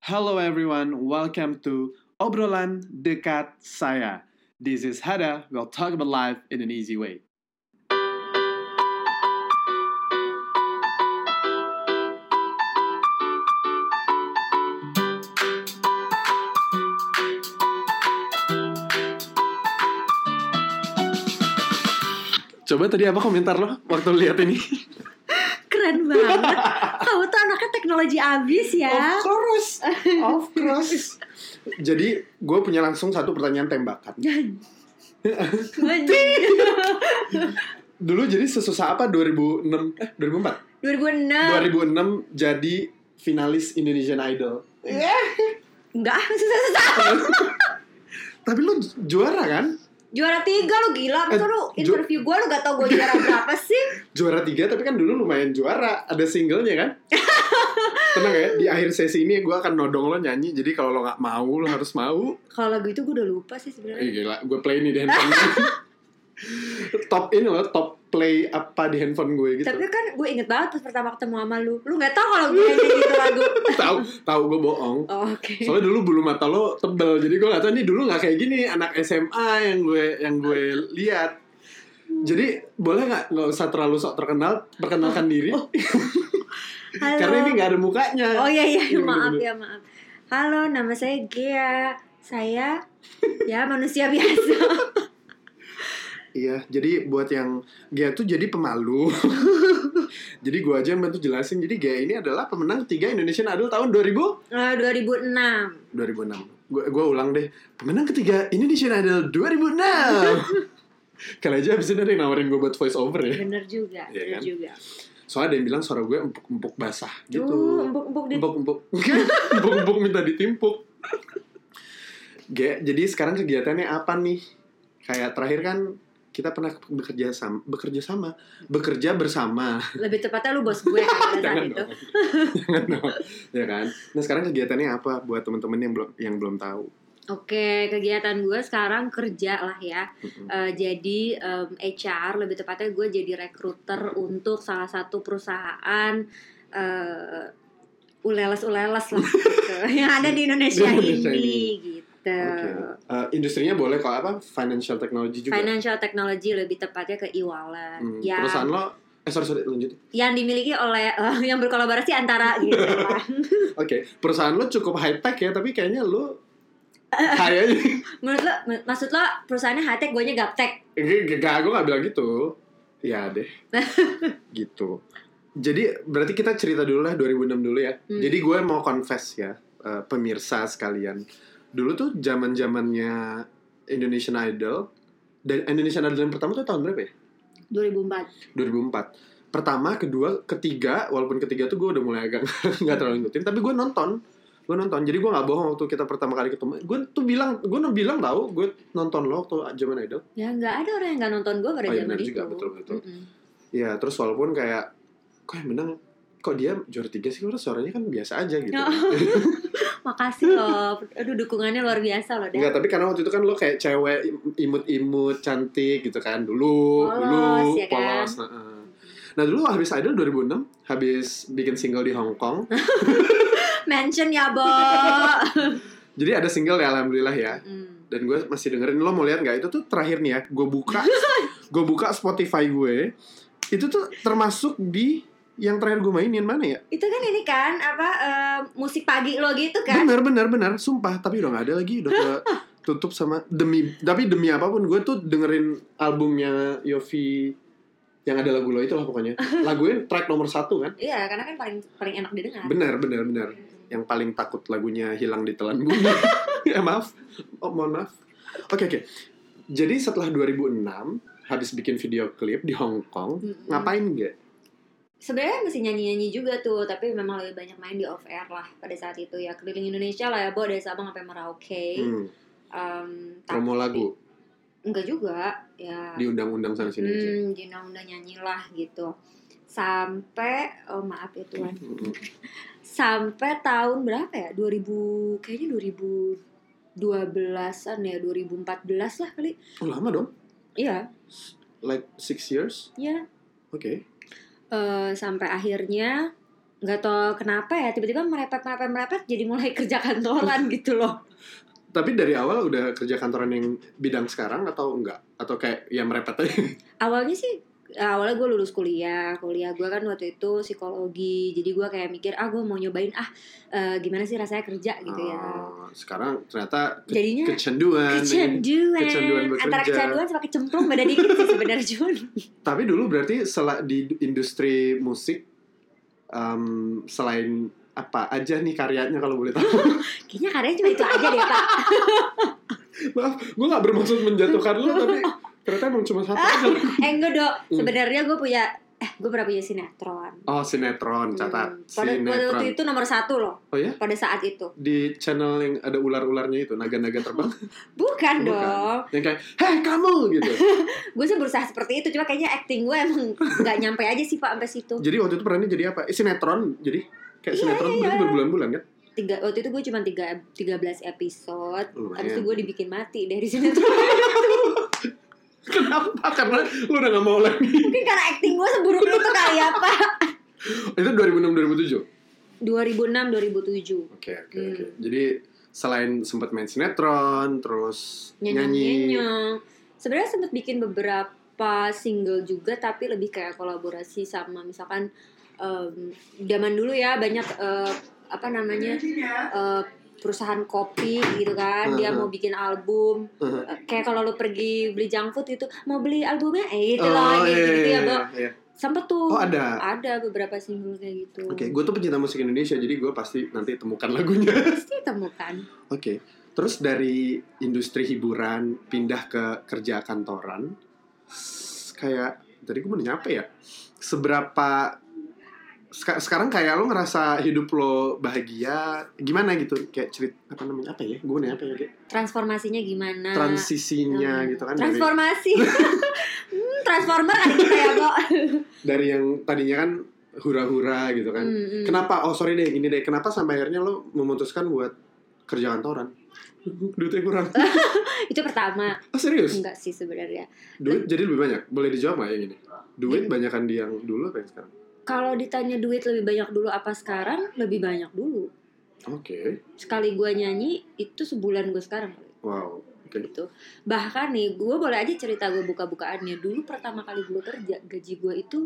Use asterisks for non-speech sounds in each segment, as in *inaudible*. Hello everyone, welcome to Obrolan Dekat Saya. This is Hada. We'll talk about life in an easy way. Coba tadi apa komentar lo waktu lihat ini? Keren banget. Kamu tuh anaknya teknologi abis ya. Of course, of course. Jadi gue punya langsung satu pertanyaan tembakan. Dan- Dulu jadi sesusah apa 2006 eh 2004? 2006 2006 jadi finalis Indonesian Idol. Enggak ah, susah-susah Tapi lu juara kan? Juara tiga lu gila Masa Eh, lu ju- interview gue lu gak tau gue juara berapa sih Juara tiga tapi kan dulu lumayan juara. Ada singlenya kan? Tenang ya, di akhir sesi ini gue akan nodong lo nyanyi. Jadi kalau lo nggak mau, lo harus mau. Kalau lagu itu gue udah lupa sih Eh sebenarnya. gila, gue play ini di handphone Top ini loh, top play apa di handphone gue gitu Tapi kan gue inget banget pas pertama ketemu sama lu Lu gak tau kalau gue nyanyi itu lagu Tahu, tahu gue bohong oh, Oke Soalnya dulu bulu mata lo tebel, jadi gue gak tau nih dulu gak kayak gini anak SMA yang gue yang gue lihat. Jadi boleh nggak nggak usah terlalu sok terkenal, Oh, perkenalkan diri Halo *laughs* karena ini nggak ada mukanya. Oh iya iya Gini, maaf gini. ya maaf Halo nama saya Gia Saya ya manusia biasa Iya, jadi buat yang Gia tuh jadi pemalu. *laughs* jadi gue aja yang bantu jelasin. Jadi Gia ini adalah pemenang tiga Indonesian Idol tahun 2000 Eh, 2006 2006. Gue gue ulang deh, pemenang ketiga Indonesian Idol *laughs* 2006. Kali aja abis ini ada yang nawarin gue buat voice over ya. Bener juga, Iya kan? bener juga. Soalnya ada yang bilang suara gue empuk-empuk basah gitu. Tuh, empuk-empuk di Empuk-empuk. *laughs* Empuk-empuk minta ditimpuk. Ge, jadi sekarang kegiatannya apa nih? Kayak terakhir kan kita pernah bekerja sama, bekerja sama, bekerja bersama. lebih tepatnya lu bos *laughs* gue kan pada saat Jangan itu. dong. Jangan dong. Ya kan? Nah, sekarang kegiatannya apa buat temen-temen yang belum yang belum tahu? Oke, kegiatan gue sekarang kerja lah ya. Mm-mm. Eh, jadi em, HR lebih tepatnya gue jadi rekruter untuk salah satu perusahaan eh uleles-uleles *laughs* lah gitu, yang ada di Indonesia, Di Indonesia ini, ini. gitu. Oke. Eh, industrinya boleh kok apa? Financial technology juga. Financial technology lebih tepatnya ke e-wallet Hmm, yang Perusahaan lo Eh sorry sorry lanjut. yang dimiliki oleh eh, *laughs* yang berkolaborasi antara gitu lah. Oke, perusahaan lo cukup high tech ya, tapi kayaknya lo high aja. Menurut lo, men- maksud lo perusahaannya high tech, gue nya gaptek? Gak, gue gak bilang gitu Ya deh Gitu Jadi berarti kita cerita dulu lah 2006 dulu ya Hmm. Jadi gue mau confess ya eh, Pemirsa sekalian Dulu tuh zaman zamannya Indonesian Idol Dan Indonesian Idol yang pertama tuh tahun berapa ya? 2004 2004 Pertama, kedua, ketiga Walaupun ketiga tuh gue udah mulai agak *laughs* nggak terlalu ngikutin Tapi gue nonton Gue nonton, jadi gue gak bohong waktu kita pertama kali ketemu Gue tuh bilang, gue bilang tau Gue nonton lo waktu zaman Idol Ya nggak ada orang yang nggak nonton gue pada Oh, iya, zaman benar itu. juga, betul, betul. Mm-mm. Ya terus walaupun kayak kok yang menang kok dia juara tiga sih padahal suaranya kan biasa aja gitu. Ya. *laughs* Makasih loh, aduh dukungannya luar biasa loh. Enggak, Dan. tapi karena waktu itu kan lo kayak cewek im- imut-imut cantik gitu kan dulu, Polos, dulu ya kan? polos. Nah, eh. nah dulu habis Idol 2006 habis bikin single di Hong Kong. Mention ya bo. Jadi ada single ya alhamdulillah ya. Mm. Dan gue masih dengerin lo mau lihat nggak itu tuh terakhir nih ya. Gue buka gue buka Spotify gue. Itu tuh termasuk di yang terakhir gue mainin mana ya? itu kan ini kan apa eh, musik pagi lo gitu kan? Bener bener bener, sumpah. Tapi udah nggak ada lagi, udah ke- tutup sama demi. Tapi demi apapun, gue tuh dengerin albumnya Yofi yang ada lagu lo itu lah pokoknya. Lagunya track nomor satu kan? Iya, karena kan paling paling enak didengar. Bener bener bener. Yang paling takut lagunya hilang di telan *laughs* bumi. ya maaf, oh, mohon maaf. Oke oke. Jadi setelah 2006 habis bikin video klip di Hong Kong, Mm-mm. ngapain gak? Sebenarnya masih nyanyi-nyanyi juga tuh, tapi memang lebih banyak main di off air lah pada saat itu ya keliling Indonesia lah ya, bo dari Sabang sampai Merauke. Hmm, Em, tapi- promo lagu Enggak juga, ya. diundang-undang sana sini gitu aja. Hmm, diundang-undang nyanyilah gitu. Sampai oh maaf ya Tuhan. Mm-mm. Sampai tahun berapa ya? 2000 kayaknya 2012-an ya, 2014 lah kali. Oh lama dong, Iya, like six years. iya. Oke. Eh, sampai akhirnya nggak tau kenapa ya tiba-tiba merepet merepet merepet jadi mulai *laughs* kerja kantoran gitu loh Tapi dari awal udah kerja kantoran yang bidang sekarang atau enggak? Atau kayak ya merepet aja? awalnya sih awalnya gue lulus kuliah kuliah gue kan waktu itu psikologi jadi gue kayak mikir ah gue mau nyobain ah eh, gimana sih rasanya kerja gitu ya Oh, sekarang ternyata ke- jadinya kecanduan. kecanduan, kecanduan bekerja. antara kecanduan sama kecemplung beda dikit sih sebenarnya Jun Tapi dulu berarti sel- di industri musik em, selain apa aja nih karyanya kalau boleh tahu? *laughs* kayaknya karyanya cuma itu aja deh pak Maaf, gue nggak bermaksud menjatuhkan lu tapi ternyata emang cuma satu aja. *laughs* eh enggak dong Hmm. sebenarnya gue punya eh gue pernah punya sinetron Oh sinetron catat Hmm. Pada pada sinetron. waktu itu nomor satu loh Oh ya pada saat itu di channel yang ada ular-ularnya itu naga-naga terbang *laughs* bukan Bukan. dong yang kayak hei kamu gitu. gue sih berusaha seperti itu cuma kayaknya acting gue emang nggak nyampe aja sih pak sampai situ Jadi waktu itu perannya jadi apa? Eh, sinetron jadi kayak Iya, sinetron iya, berarti iya. berbulan-bulan kan? *laughs* tiga waktu itu gue cuma tiga tiga belas episode Lumayan. Habis itu gue dibikin mati dari sinetron *laughs* Kenapa? Karena lu udah gak mau lagi. mungkin karena acting gue seburuk itu kali ya pak *laughs* Itu 2006 2007. 2006 2007 Oke, oke, Hmm. oke. Jadi selain sempat main sinetron, terus nyanyi. nyanyi-nyanyi. Sebenarnya sempat bikin beberapa single juga tapi lebih kayak kolaborasi sama misalkan em, zaman dulu ya banyak eh, apa namanya eh, perusahaan kopi gitu kan dia Uh-huh. mau bikin album Uh-huh. Eh, kayak kalau lu pergi beli junk food itu mau beli albumnya eh itu Oh, loh gitu, gitu iya, ya Bo. iya. Sempet tuh Oh, ada. ada beberapa single kayak gitu. Oke, gue tuh pencinta musik Indonesia, jadi gue pasti nanti temukan lagunya. *laughs* Oke, Pasti kan. temukan. terus dari industri hiburan pindah ke kerja kantoran, s- kayak tadi gue mau nanya apa ya? Seberapa seka- sekarang kayak lo ngerasa hidup lo bahagia gimana gitu kayak cerit apa namanya apa ya gue nanya apa ya kayak Transformasinya gimana? transisinya Hmm. gitu kan dari- *laughs* Transformasi. Hmm, Transformer ada kita ya, Bo. Kan. dari yang tadinya kan hura-hura gitu kan. Hmm, hmm. Kenapa? Oh sorry deh, gini deh. Kenapa sampai akhirnya lo memutuskan buat kerja kantoran? *laughs* Duitnya kurang. Itu pertama. Oh serius? Enggak sih sebenarnya. Duit jadi lebih banyak. Boleh dijawab nggak yang ini? Iya. Duit banyakan di yang dulu apa yang sekarang? Kalau ditanya duit lebih banyak dulu apa sekarang? Lebih banyak dulu. Oke. Sekali gua nyanyi itu sebulan gue sekarang Wow. Oke. gitu. Bahkan nih gue boleh aja cerita gue buka-bukaannya. Dulu pertama kali gue kerja gaji gue itu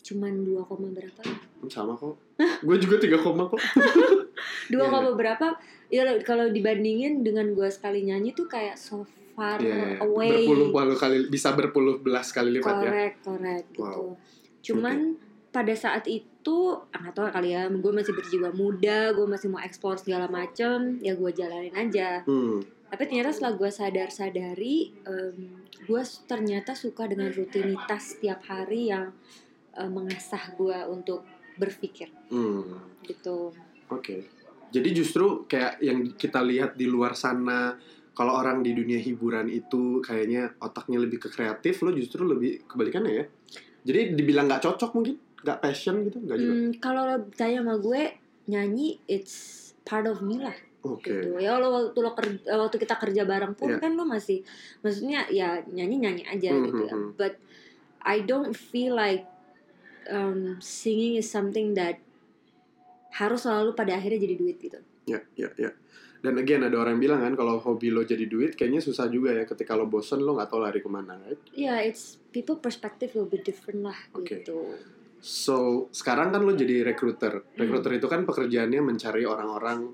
cuman 2, koma berapa? Sama *laughs* kok. Gue juga 3 koma kok. 2, Iya, koma berapa? Ya kalau dibandingin dengan gue sekali nyanyi tuh kayak so far Iya. away. Berpuluh-puluh kali bisa berpuluh belas kali lipat ya. korek korek gitu cuman pada saat itu ah, nggak tahu kali ya gue masih berjiwa muda gue masih mau ekspor segala macem ya gue jalanin aja Hmm. tapi ternyata setelah gue sadar sadari gue ternyata suka dengan rutinitas setiap hari yang eh, mengasah gue untuk berpikir Hmm. gitu Oke. Jadi justru kayak yang kita lihat di luar sana, kalau orang di dunia hiburan itu kayaknya otaknya lebih ke kreatif, lo justru lebih kebalikannya ya. Jadi dibilang nggak cocok mungkin, nggak passion gitu, nggak juga. Hmm, kalau lo tanya sama gue nyanyi it's part of me lah Oke. gitu ya lo waktu lo ker- waktu kita kerja bareng pun Iya. kan lo masih maksudnya ya nyanyi nyanyi aja Mhm, gitu ya mhm. but I don't feel like um, singing is something that harus selalu pada akhirnya jadi duit gitu Ya, ya, ya. Dan again ada orang yang bilang kan kalau hobi lo jadi duit, kayaknya susah juga ya. Ketika lo bosen lo nggak tahu lari kemana, right? ya it's people perspective will be different lah Oke. gitu So sekarang kan lo jadi recruiter. Recruiter Hmm. itu kan pekerjaannya mencari orang-orang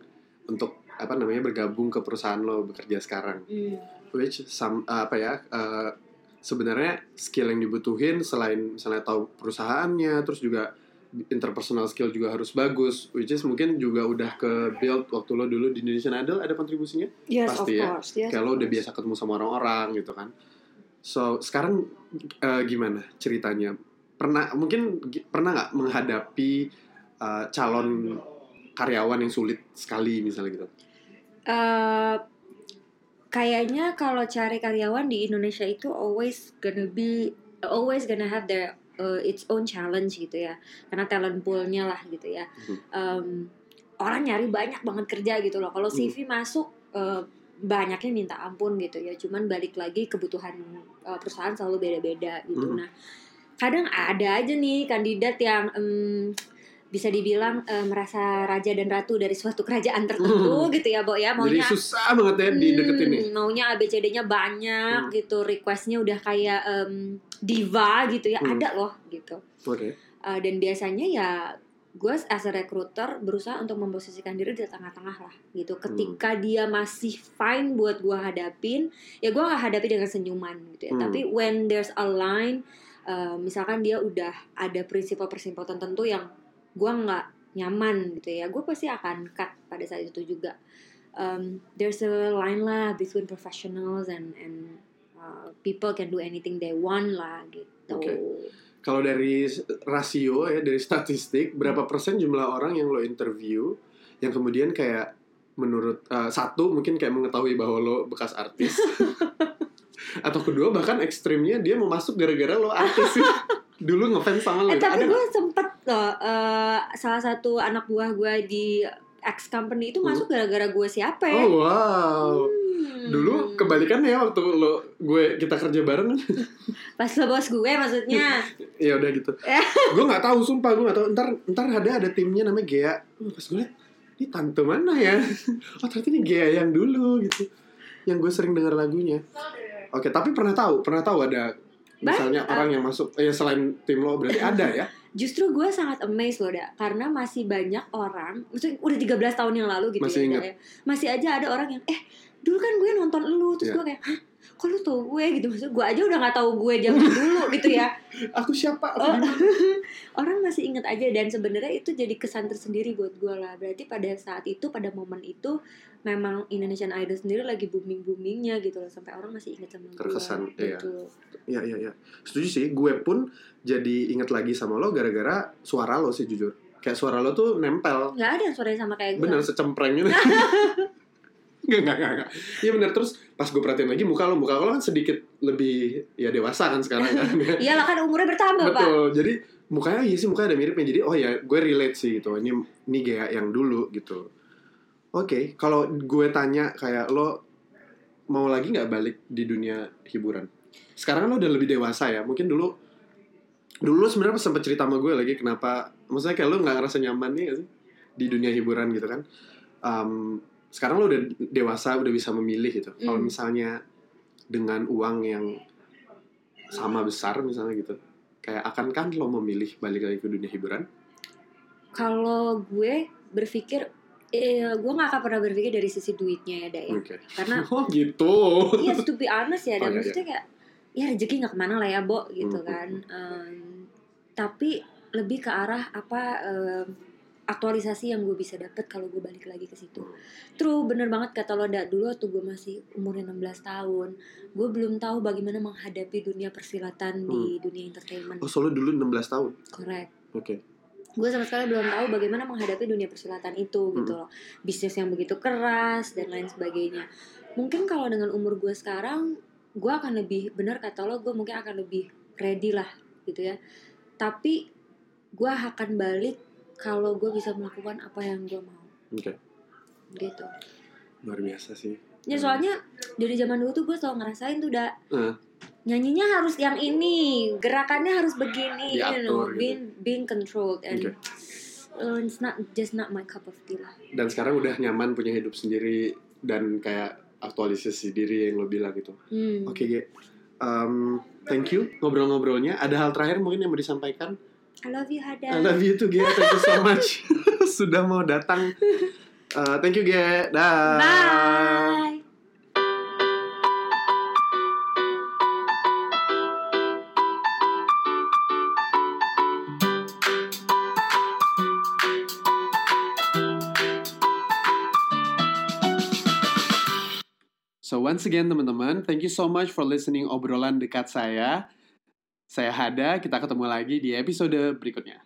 untuk apa namanya bergabung ke perusahaan lo bekerja sekarang. Hmm. which some uh, apa ya uh, sebenarnya skill yang dibutuhin selain misalnya tahu perusahaannya terus juga interpersonal skill juga harus bagus which is mungkin juga udah ke build waktu lo dulu di Indonesian Idol ada kontribusinya yes Pasti of ya. course yes kayak of lo udah course. biasa ketemu sama orang-orang gitu kan so sekarang uh, gimana ceritanya pernah mungkin gi- pernah nggak menghadapi uh, calon karyawan yang sulit sekali misalnya gitu Eh, kayaknya kalau cari karyawan di Indonesia itu always gonna be always gonna have their eh, its own challenge gitu ya karena talent poolnya lah gitu ya Mhm. Em, orang nyari banyak banget kerja gitu loh kalau CV masuk eh, banyaknya minta ampun gitu ya cuman balik lagi kebutuhan eh, perusahaan selalu beda-beda gitu Mhm. nah kadang ada aja nih kandidat yang em, bisa dibilang eh, merasa raja dan ratu dari suatu kerajaan tertentu gitu ya, Bo ya. Jadi Maunya susah banget ya di deketin nih. Hmm, maunya ABCD-nya banyak Hmm. gitu, requestnya udah kayak em, diva gitu ya, Hmm. ada loh gitu. Oke. Eh, dan biasanya ya gue as a recruiter berusaha untuk memposisikan diri di tengah-tengah lah gitu. Ketika dia masih fine buat gue hadapin, ya gue nggak hadapi dengan senyuman gitu ya. Hmm. Tapi when there's a line, eh, misalkan dia udah ada prinsipal-prinsipal tertentu yang gue nggak nyaman gitu ya, gue pasti akan cut pada saat itu juga. Um, there's a line lah between professionals and and uh, people can do anything they want lah gitu. Oke. Kalau dari s- rasio ya dari statistik berapa persen jumlah orang yang lo interview yang kemudian kayak menurut eh, satu mungkin kayak mengetahui bahwa lo bekas artis *laughs* atau kedua bahkan ekstrimnya dia mau masuk gara-gara lo *laughs* artis dulu ngefans sama lo Eh gitu. tapi Ada gue sempet loh eh, salah satu anak buah gue di X company itu Hmm. masuk gara-gara gue siapa nggak? ya? oh wow Hmm. dulu kebalikannya ya waktu lo gue kita kerja bareng Pas lo bos gue maksudnya. ya udah gitu Eh. gue nggak tahu sumpah gue nggak tahu ntar ntar ada ada timnya namanya Gea Hmm, pas gue liat ini tante mana ya *laughs* oh ternyata ini Gea yang dulu gitu yang gue sering dengar lagunya oke tapi pernah tahu pernah tahu ada misalnya Banyak. orang yang masuk ya selain tim lo berarti ada ya Justru gue sangat amazed loh, Da. Karena masih banyak orang, maksudnya udah 13 tahun yang lalu gitu Masih ya, Da, ingat. ya. Masih aja ada orang yang, eh dulu kan gue nonton lu. Terus Iya. gue kayak, hah? Kok lu tau gue gitu? Maksudnya gue aja udah gak tau gue *laughs* zaman dulu gitu ya. aku siapa aku Oh. *laughs* di mana? orang masih inget aja dan sebenarnya itu jadi kesan tersendiri buat gue lah berarti pada saat itu pada momen itu memang Indonesian Idol sendiri lagi booming boomingnya gitu loh sampai orang masih inget sama gue Terkesan, iya. gitu ya ya ya setuju sih gue pun jadi inget lagi sama lo gara-gara suara lo sih jujur kayak suara lo tuh nempel nggak ada yang suaranya sama kayak gue Bener secempreng gitu. Enggak, enggak, enggak, enggak. Iya bener, terus pas gue perhatiin lagi muka lo, muka lo kan sedikit lebih ya dewasa kan sekarang kan. iyalah kan umurnya bertambah pak Betul, jadi mukanya iya sih mukanya ada miripnya. Jadi oh ya gue relate sih gitu, ini, ini Gea yang dulu gitu. Oke, kalau gue tanya kayak lo mau lagi nggak balik di dunia hiburan? Sekarang kan lo udah lebih dewasa ya, mungkin dulu dulu lo sebenarnya sempet cerita sama gue lagi kenapa maksudnya kayak lo nggak ngerasa nyaman nih nggak sih di dunia hiburan gitu kan Em, sekarang lo udah dewasa udah bisa memilih gitu kalau Mm. misalnya dengan uang yang sama besar misalnya gitu kayak akankah lo memilih balik lagi ke dunia hiburan kalau gue berpikir eh, gue nggak akan pernah berpikir dari sisi duitnya ya Daya oke *laughs* karena oh gitu iya *laughs* to be honest ya dan Oke, maksudnya kayak ya rezeki nggak kemana lah ya bo gitu Hmm, kan Em, tapi lebih ke arah apa em, aktualisasi yang gue bisa dapet kalau gue balik lagi ke situ Hmm. true bener banget kata lo da dulu waktu gue masih umurnya 16 tahun gue belum tahu bagaimana menghadapi dunia persilatan di Hmm. dunia entertainment oh solo dulu 16 tahun correct oke gue sama sekali belum tahu bagaimana menghadapi dunia persilatan itu Hmm. gitu loh bisnis yang begitu keras dan lain sebagainya mungkin kalau dengan umur gue sekarang gue akan lebih benar kata lo gue mungkin akan lebih ready lah gitu ya tapi gue akan balik kalau gue bisa melakukan apa yang gue mau oke gitu luar biasa sih ya Hmm. soalnya dari zaman dulu tuh gue selalu ngerasain tuh da Hmm. nyanyinya harus yang ini gerakannya harus begini you know, Diatur gitu. being being controlled Oke. and uh, it's not just not my cup of tea lah dan sekarang udah nyaman punya hidup sendiri dan kayak aktualisasi diri yang lo bilang gitu Hmm. Oke, Ge. Em, thank you ngobrol-ngobrolnya. Ada hal terakhir mungkin yang mau disampaikan? I love you I Hada. love you too, Ge. Thank you so much. *laughs* Sudah mau datang. Eh, thank you, Ge. Dah. Bye. So once again teman-teman, thank you so much for listening obrolan dekat saya. Saya Hada, kita ketemu lagi di episode berikutnya.